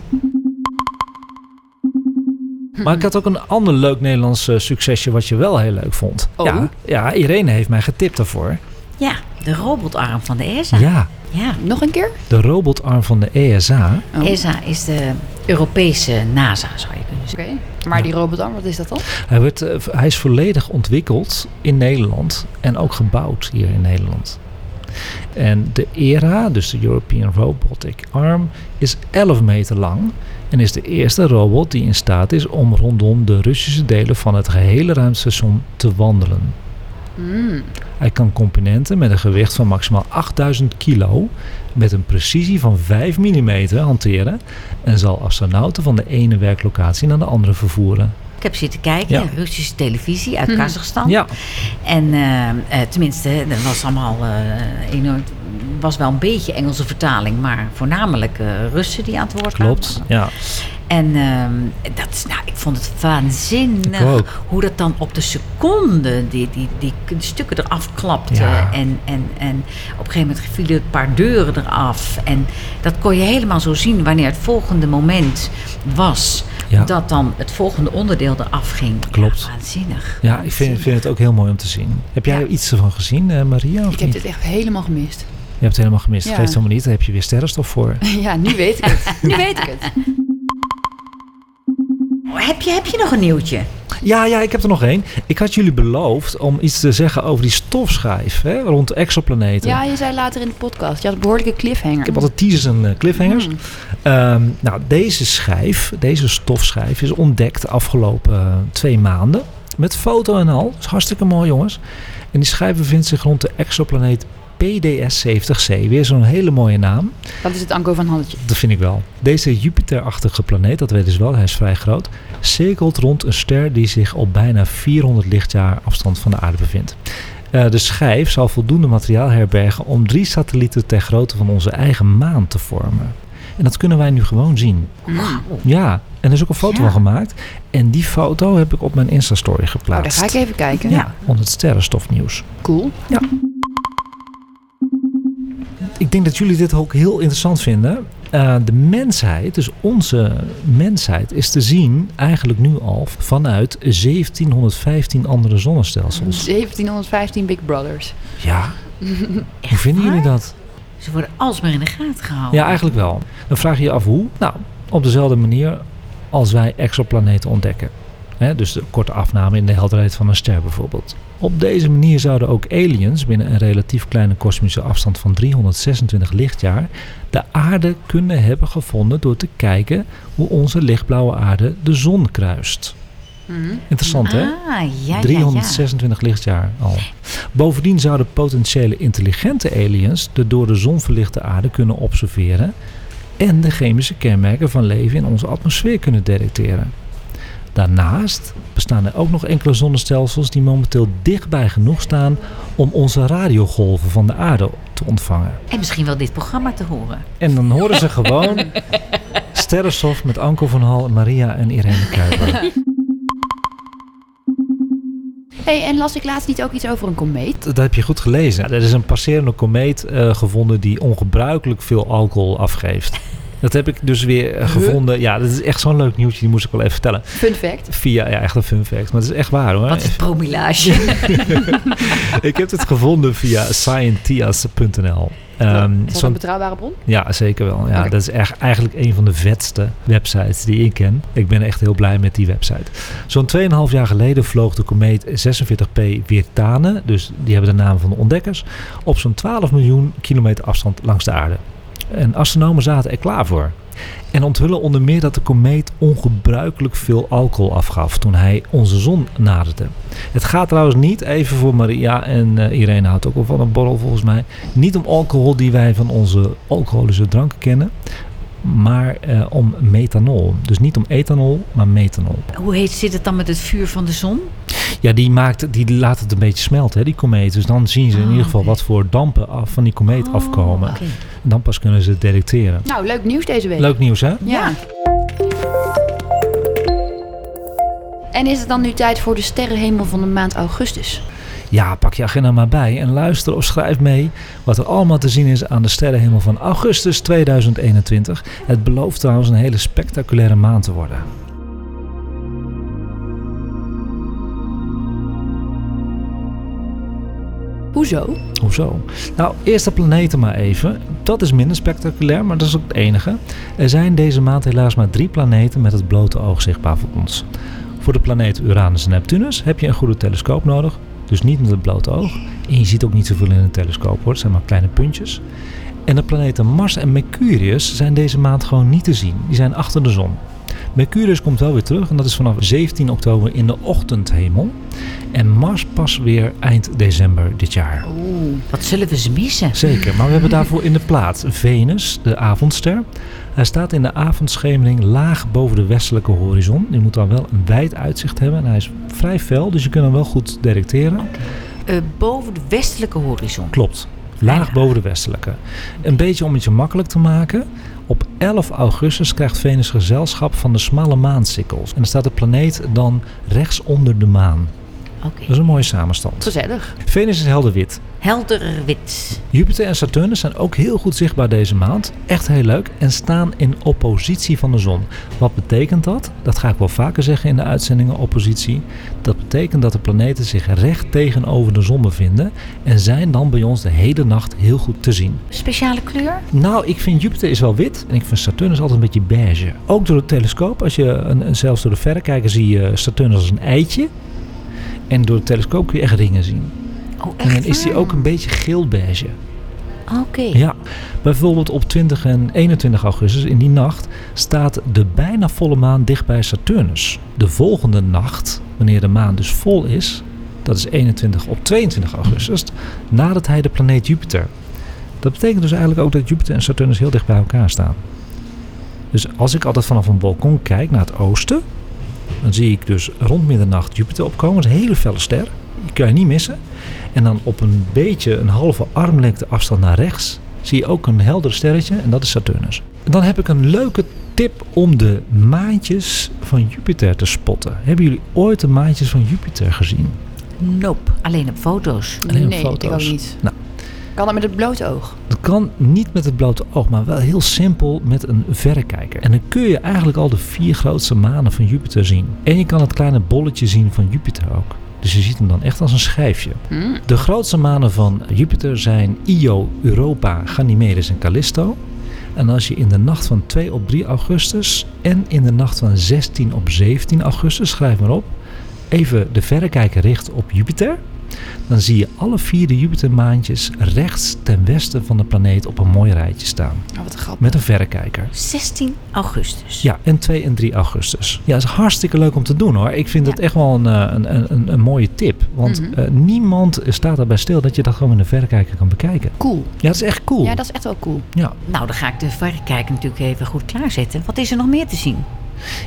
Maar ik had ook een ander leuk Nederlands eh, succesje wat je wel heel leuk vond. Oh? Ja, ja, Irene heeft mij getipt daarvoor. Ja, de robotarm van de ESA. Ja. Ja, Nog een keer? de robotarm van de E ESA. Oh. ESA is de Europese NASA, zou je kunnen Oké. zeggen. Maar die robotarm, wat is dat dan? Hij, werd, eh, v- hij is volledig ontwikkeld in Nederland en ook gebouwd hier in Nederland. En de ERA, dus de European Robotic Arm, is 11 meter lang en is de eerste robot die in staat is om rondom de Russische delen van het gehele ruimtestation te wandelen. Hm. Hij kan componenten met een gewicht van maximaal 8000 kilo met een precisie van 5 mm hanteren en zal astronauten van de ene werklocatie naar de andere vervoeren. Ik heb zitten kijken, Ja. Mhm. Russische televisie uit Hm. Kazachstan. Ja, En eh, eh, tenminste, dat was allemaal eh, enorm. was wel een beetje Engelse vertaling, maar voornamelijk eh, Russen die aan het woord klopt. kwamen. Ja. En ehm, dat is, nou, ik vond het waanzinnig Ik ook. hoe dat dan op de seconde die, die, die stukken eraf klapte. Ja. En, en, en op een gegeven moment vielen een paar deuren eraf. En dat kon je helemaal zo zien wanneer het volgende moment was. Ja. Dat dan het volgende onderdeel eraf ging. Klopt. Ja, waanzinnig. Ja, ik vind, vind het ook heel mooi om te zien. Heb jij Ja. iets ervan gezien, eh, Maria? Of Ik heb niet? dit echt helemaal gemist. Je hebt het helemaal gemist. Ja. Geeft helemaal niet. Daar heb je weer sterrenstof voor. ja, nu weet ik het. nu weet ik het. Heb je, heb je nog een nieuwtje? Ja, ja, ik heb er nog één. Ik had jullie beloofd om iets te zeggen over die stofschijf hè, rond exoplaneten. Ja, je zei later in de podcast. Je had een behoorlijke cliffhanger. Ik heb altijd teasers en eh, cliffhangers. Hmm. Ehm, nou, deze schijf, deze stofschijf, is ontdekt de afgelopen eh, twee maanden. Met foto en al. is hartstikke mooi, jongens. En die schijf bevindt zich rond de exoplaneet PDS-70c. Weer zo'n hele mooie naam. Dat is het Anko van Hannetje. Dat vind ik wel. Deze Jupiterachtige planeet, dat weten ze wel, hij is vrij groot, cirkelt rond een ster die zich op bijna 400 lichtjaar afstand van de aarde bevindt. Eh, de schijf zal voldoende materiaal herbergen om drie satellieten ter grootte van onze eigen maan te vormen. En dat kunnen wij nu gewoon zien. Ja, en er is ook een foto Ja. van gemaakt. En die foto heb ik op mijn Insta-story Oh, daar geplaatst. ga ik even kijken. Ja, onder het sterrenstofnieuws. Cool. Ik denk dat jullie dit ook heel interessant vinden. Eh, de mensheid, dus onze mensheid, is te zien eigenlijk nu al vanuit 1715 andere zonnestelsels. 1715 Big Brothers. Ja. Hoe vinden jullie dat? Ze worden alsmaar in de gaten gehouden. Ja, eigenlijk wel. Dan vraag je je af hoe? Nou, op dezelfde manier als wij exoplaneten ontdekken. Hè, dus de korte afname in de helderheid van een ster bijvoorbeeld. Op deze manier zouden ook aliens binnen een relatief kleine kosmische afstand van 326 lichtjaar de aarde kunnen hebben gevonden door te kijken hoe onze lichtblauwe aarde de zon kruist. Interessant hè? Ah, ja, 326 lichtjaar al. Bovendien zouden potentiële intelligente aliens de door de zon verlichte aarde kunnen observeren en de chemische kenmerken van leven in onze atmosfeer kunnen detecteren. Daarnaast bestaan er ook nog enkele zonnestelsels die momenteel dichtbij genoeg staan om onze radiogolven van de aarde te ontvangen. ja. En misschien wel dit programma te horen. En dan horen ze gewoon Sterrenstof met Anko van Hal, Maria en Irene Kuiper. hey, en las ik laatst niet ook iets over een komeet? dat heb je goed gelezen. Er is een passerende komeet eh, gevonden die ongebruikelijk veel alcohol afgeeft. Dat heb ik dus weer eh, gevonden. Ja, dat is echt zo'n leuk nieuwtje. Die moest ik wel even vertellen. Fun fact. Via, ja, echt een fun fact. Maar het is echt waar hoor. Wat is promillage? Ik heb het gevonden via scientias.nl. Ehm, is dat zo'n- een betrouwbare bron? ja, zeker wel. Ja, Oké. Dat is echt, eigenlijk een van de vetste websites die ik ken. Ik ben echt heel blij met die website. Zo'n 2,5 jaar geleden vloog de komeet 46P Virtane, dus die hebben de naam van de ontdekkers, op zo'n 12 miljoen kilometer afstand langs de aarde. En astronomen zaten er klaar voor. En onthullen onder meer dat de komeet ongebruikelijk veel alcohol afgaf toen hij onze zon naderde. Het gaat trouwens niet, even voor Maria en eh, Irene houdt ook wel van een borrel volgens mij, niet om alcohol die wij van onze alcoholische dranken kennen, maar eh, om methanol. Dus niet om ethanol, maar methanol. Hoe heet zit het dan met het vuur van de zon? Ja, die, maakt, die laat het een beetje smelten, hè, die komeet. Dus dan zien ze in Ah, ieder geval oké. wat voor dampen af, van die komeet Oh, afkomen. oké. Dan pas kunnen ze het detecteren. Nou, leuk nieuws deze week. Leuk nieuws, hè? Ja. En is het dan nu tijd voor de sterrenhemel van de maand augustus? Ja, pak je agenda maar bij en luister of schrijf mee wat er allemaal te zien is aan de sterrenhemel van augustus 2021. Het belooft trouwens een hele spectaculaire maand te worden. Hoezo? Hoezo? Nou, eerst de planeten maar even. Dat is minder spectaculair, maar dat is ook het enige. Er zijn deze maand helaas maar drie planeten met het blote oog zichtbaar voor ons. Voor de planeten Uranus en Neptunus heb je een goede telescoop nodig. Dus niet met het blote oog. En je ziet ook niet zoveel in een telescoop hoor, het zijn maar kleine puntjes. En de planeten Mars en Mercurius zijn deze maand gewoon niet te zien. Die zijn achter de zon. Mercurius komt wel weer terug en dat is vanaf 17 oktober in de ochtendhemel. En Mars pas weer eind december dit jaar. Wat zullen we ze missen? Zeker, maar we hebben daarvoor in de plaats Venus, de avondster. Hij staat in de avondschemering laag boven de westelijke horizon. Je moet dan wel een wijd uitzicht hebben en hij is vrij fel, dus je kunt hem wel goed detecteren. Eh, boven de westelijke horizon. Klopt, laag boven de westelijke. Een beetje om het je makkelijk te maken. Op 11 augustus krijgt Venus gezelschap van de smalle maansikkels. En dan staat de planeet dan rechts onder de maan. Oké. Dat is een mooie samenstand. Gezellig. Venus is helder wit. Helder wit. Jupiter en Saturnus zijn ook heel goed zichtbaar deze maand. Echt heel leuk. En staan in oppositie van de zon. Wat betekent dat? Dat ga ik wel vaker zeggen in de uitzendingen oppositie. Dat betekent dat de planeten zich recht tegenover de zon bevinden. En zijn dan bij ons de hele nacht heel goed te zien. Speciale kleur? Nou, ik vind Jupiter is wel wit en ik vind Saturnus altijd een beetje beige. Ook door de telescoop, als je een, een- zelfs door de verrekijker zie je Saturnus als een eitje. En door de telescoop kun je echt ringen zien. Oh, echt En dan is die waar? ook een beetje geel-beige. Oké. Ja, bijvoorbeeld op 20 en 21 augustus in die nacht staat de bijna volle maan dicht bij Saturnus. De volgende nacht, wanneer de maan dus vol is, dat is 21 op 22 augustus, nadert hij de planeet Jupiter. Dat betekent dus eigenlijk ook dat Jupiter en Saturnus heel dicht bij elkaar staan. Dus als ik altijd vanaf een balkon kijk naar het oosten, dan zie ik dus rond middernacht Jupiter opkomen. Dat is een hele felle ster. Die kan je niet missen. En dan op een beetje een halve armlengte afstand naar rechts zie je ook een helder sterretje en dat is Saturnus. Dan heb ik een leuke tip om de maantjes van Jupiter te spotten. Hebben jullie ooit de maantjes van Jupiter gezien? Nope. Alleen op foto's. Alleen op nee, ik ook foto's. niet. Nou. Kan dat met het blote oog? Dat kan niet met het blote oog, maar wel heel simpel met een verrekijker. En dan kun je eigenlijk al de vier grootste manen van Jupiter zien. En je kan het kleine bolletje zien van Jupiter ook. Dus je ziet hem dan echt als een schijfje. Mm. De grootste manen van Jupiter zijn Io, Europa, Ganymedes en Callisto. En als je in de nacht van 2 op 3 augustus en in de nacht van 16 op 17 augustus, schrijf maar op, even de verrekijker richt op Jupiter, dan zie je alle vier de Jupitermaantjes rechts ten westen van de planeet op een mooi rijtje staan. Oh, wat grappig. Met een verrekijker. 16 augustus. Ja, en 2 en 3 augustus. Ja, dat is hartstikke leuk om te doen hoor. Ik vind Ja. dat echt wel een, eh, een, een- een, een mooie tip. Want Mhm. eh, niemand staat daarbij stil dat je dat gewoon in de verrekijker kan bekijken. Cool. Ja, dat is echt cool. Ja, dat is echt wel cool. ja. Nou, dan ga ik de verrekijker natuurlijk even goed klaarzetten. Wat is er nog meer te zien?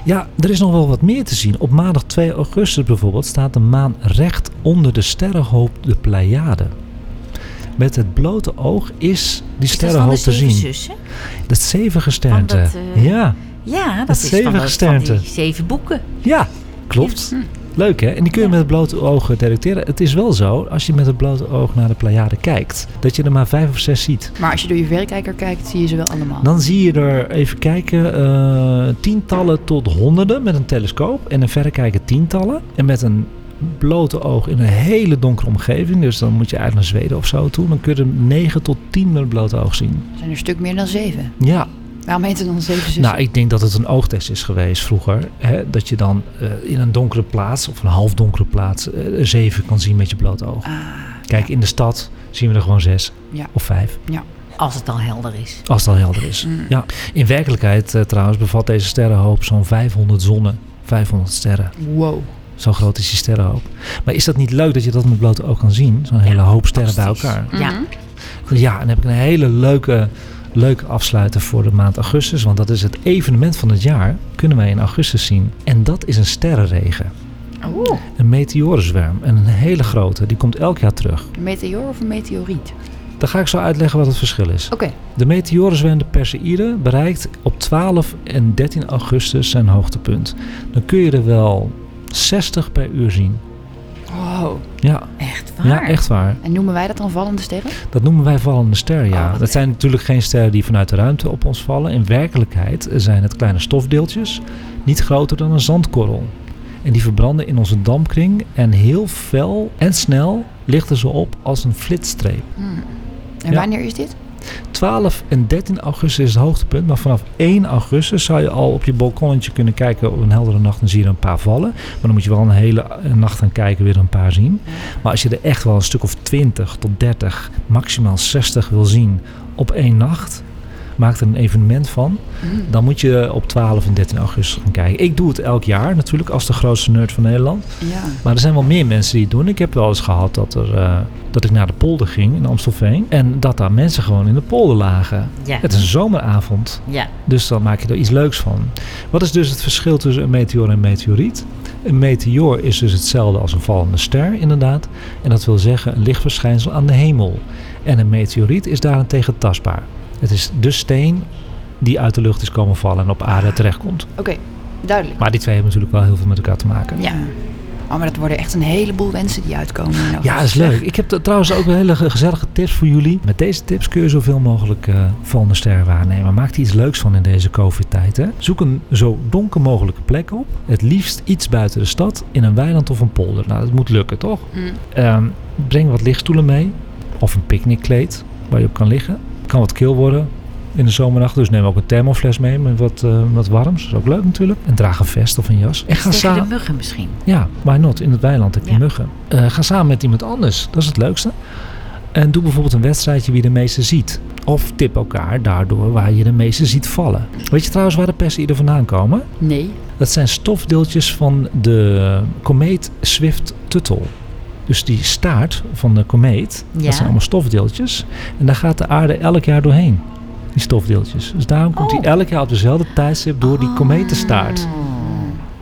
Ja, er is nog wel wat meer te zien. Op maandag 2 augustus bijvoorbeeld staat de maan recht onder de sterrenhoop de Pleiade. Met het blote oog is die Is dat van de sterrenhoofd te zeven zien. zussen? Dat zevengesternte. Van dat, eh, Ja, Ja, dat, Dat is zeven van, dat- van die gesternte. zeven boeken. ja, klopt. Hm. Leuk hè? En die kun je met het blote oog detecteren. Het is wel zo, als je met het blote oog naar de Pleiade kijkt, dat je er maar vijf of zes ziet. Maar als je door je verrekijker kijkt, zie je ze wel allemaal. Dan zie je er, even kijken, eh, tientallen tot honderden met een telescoop. En een verrekijker tientallen. En met een blote oog in een hele donkere omgeving. Dus dan moet je eigenlijk naar Zweden of zo toe. Dan kun je er negen tot tien met het blote oog zien. Er zijn er een stuk meer dan zeven. Ja, Waarom heet het dan zeven zussen? nou ik denk dat het een oogtest is geweest vroeger. Hè? Dat je dan eh, in een donkere plaats of een half donkere plaats eh, zeven kan zien met je blote oog. Ah, Kijk, in de stad zien we er gewoon zes Ja. of vijf. Als het al helder is. Als het al helder is. Mm. Ja. In werkelijkheid eh, trouwens bevat deze sterrenhoop zo'n 500 zonnen. 500 sterren. wow. Zo groot is die sterrenhoop. Maar is dat niet leuk dat je dat met blote oog kan zien? Zo'n hele hoop sterren bij Fantastisch. elkaar. Ja, Mhm. Ja, en dan heb ik een hele leuke, leuke afsluiter voor de maand augustus. Want dat is het evenement van het jaar. Kunnen wij in augustus zien. En dat is een sterrenregen. Oeh. Een meteorenzwerm. En een hele grote. Die komt elk jaar terug. Een meteoor of een meteoriet? Dan ga ik zo uitleggen wat het verschil is. Oké. De meteorenzwerm de Perseïde bereikt op 12 en 13 augustus zijn hoogtepunt. Dan kun je er wel 60 per uur zien. Wow. Ja, echt waar. ja echt waar. Oh. En noemen wij dat dan vallende sterren? Dat noemen wij vallende sterren, Oh, ja. wat dat zijn natuurlijk geen sterren die vanuit de ruimte op ons vallen. In werkelijkheid zijn het kleine stofdeeltjes, niet groter dan een zandkorrel. En die verbranden in onze dampkring en heel fel en snel lichten ze op als een flitsstreep. En Ja. wanneer is dit? 12 en 13 augustus is het hoogtepunt. Maar vanaf 1 augustus zou je al op je balkonnetje kunnen kijken op een heldere nacht. en zie je er een paar vallen. Maar dan moet je wel een hele eh, nacht gaan kijken, weer een paar zien. Maar als je er echt wel een stuk of 20 tot 30, maximaal 60 wil zien op één nacht. Maak er een evenement van. Dan moet je op 12 en 13 augustus gaan kijken. Ik doe het elk jaar natuurlijk als de grootste nerd van Nederland. Ja. Maar er zijn wel meer mensen die het doen. Ik heb wel eens gehad dat, er, eh, dat ik naar de polder ging in Amstelveen. En dat daar mensen gewoon in de polder lagen. Ja. Het is een zomeravond. Ja. Dus dan maak je er iets leuks van. Wat is dus het verschil tussen een meteor en een meteoriet? Een meteor is dus hetzelfde als een vallende ster, inderdaad. En dat wil zeggen een lichtverschijnsel aan de hemel. En een meteoriet is daarentegen tastbaar. Het is de steen die uit de lucht is komen vallen en op aarde terechtkomt. Oké, duidelijk. Maar die twee hebben natuurlijk wel heel veel met elkaar te maken. Ja. Oh, maar dat worden echt een heleboel wensen die uitkomen. in Ja, dat is augustus. leuk. Ik heb t- trouwens ook hele ge- gezellige tips voor jullie. Met deze tips kun je zoveel mogelijk eh vallende sterren waarnemen. Maak er iets leuks van in deze COVID-tijd. hè. Zoek een zo donker mogelijke plek op. Het liefst iets buiten de stad, in een weiland of een polder. Nou, dat moet lukken, toch? Hm. Mm. Ehm, breng wat lichtstoelen mee. Of een picknickkleed waar je op kan liggen. Kan wat kil worden in de zomernacht. Dus neem ook een thermofles mee met wat, eh, wat warms. Dat is ook leuk natuurlijk. En draag een vest of een jas. En ga Tegen de samen... muggen misschien. Ja, why not? In het weiland heb je Ja. muggen. Eh, ga samen met iemand anders. Dat is het leukste. En doe bijvoorbeeld een wedstrijdje wie de meeste ziet. Of tip elkaar daardoor waar je de meeste ziet vallen. Weet je trouwens waar de persen vandaan komen? Nee. Dat zijn stofdeeltjes van de komeet Swift-Tuttle. Dus die staart van de komeet, Ja. dat zijn allemaal stofdeeltjes. En daar gaat de aarde elk jaar doorheen, die stofdeeltjes. Dus daarom komt Oh. Ah. die elk jaar op dezelfde tijdstip door die kometenstaart. Oh,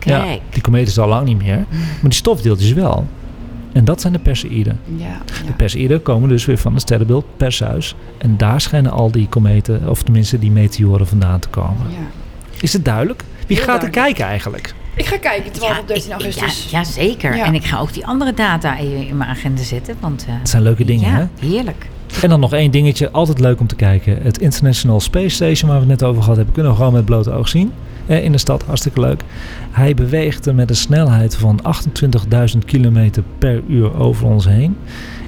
Ja, kijk. die komeet is al lang niet meer, maar die stofdeeltjes wel. En dat zijn de Perseïden. Ja. De ja. Perseïden komen dus weer van het sterrenbeeld Perseus. En daar schijnen al die kometen, of tenminste die meteoren vandaan te komen. ja. Is het duidelijk? Wie gaat er Heel duidelijk. kijken eigenlijk? Ik ga kijken, 12 op 13 ik- ik- augustus. Ja, ja, zeker. Ja. En ik ga ook die andere data in in mijn agenda zetten. Want, eh, Het zijn leuke dingen, ja, hè? heerlijk. En dan nog één dingetje, altijd leuk om te kijken. Het International Space Station, waar we het net over gehad hebben, kunnen we gewoon met blote oog zien. Eh, In de stad, hartstikke leuk. Hij beweegt met een snelheid van 28.000 kilometer per uur over ons heen.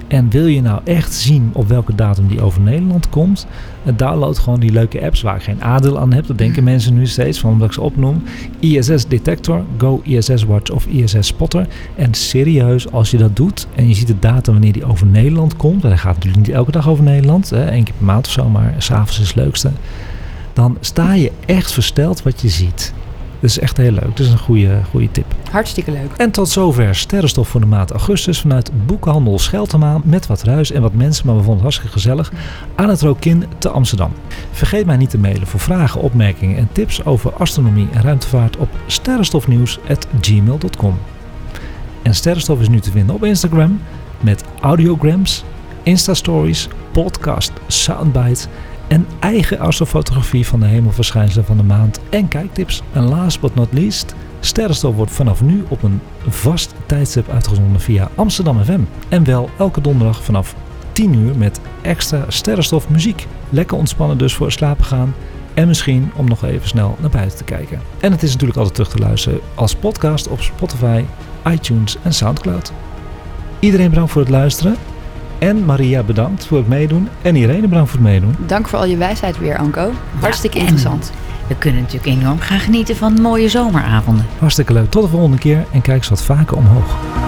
En wil je nou echt zien op welke datum die over Nederland komt, eh, download gewoon die leuke apps waar ik geen aandeel aan heb. Dat denken mensen nu steeds van omdat ik ze opnoem. ISS Detector, Go ISS Watch of ISS Spotter. En serieus, als je dat doet en je ziet de datum wanneer die over Nederland komt, en hij gaat natuurlijk niet elke dag over Nederland, hè, één keer per maand of zo, maar s'avonds is het leukste. Dan sta je echt versteld wat je ziet. Dat is echt heel leuk. Dat is een goede, goede tip. Hartstikke leuk. En tot zover Sterrenstof voor de maand augustus vanuit Boekhandel Scheltema met wat ruis en wat mensen, maar we vonden het hartstikke gezellig, aan het Rokin te Amsterdam. Vergeet mij niet te mailen voor vragen, opmerkingen en tips over astronomie en ruimtevaart op sterrenstofnieuws.gmail.com. En Sterrenstof is nu te vinden op Instagram met audiograms Insta-stories, podcast, soundbites en eigen astrofotografie van de hemelverschijnselen van de maand en kijktips. En last but not least, Sterrenstof wordt vanaf nu op een vast tijdstip uitgezonden via Amsterdam FM. En wel elke donderdag vanaf 10 uur met extra Sterrenstof muziek. Lekker ontspannen dus voor het slapen gaan. En misschien om nog even snel naar buiten te kijken. En het is natuurlijk altijd terug te luisteren als podcast op Spotify, iTunes en Soundcloud. Iedereen bedankt voor het luisteren. En Maria bedankt voor het meedoen. En Irene bedankt voor het meedoen. Dank voor al je wijsheid weer, Anko. Hartstikke interessant. We kunnen natuurlijk enorm gaan genieten van mooie zomeravonden. Hartstikke leuk. Tot de volgende keer. En kijk eens wat vaker omhoog.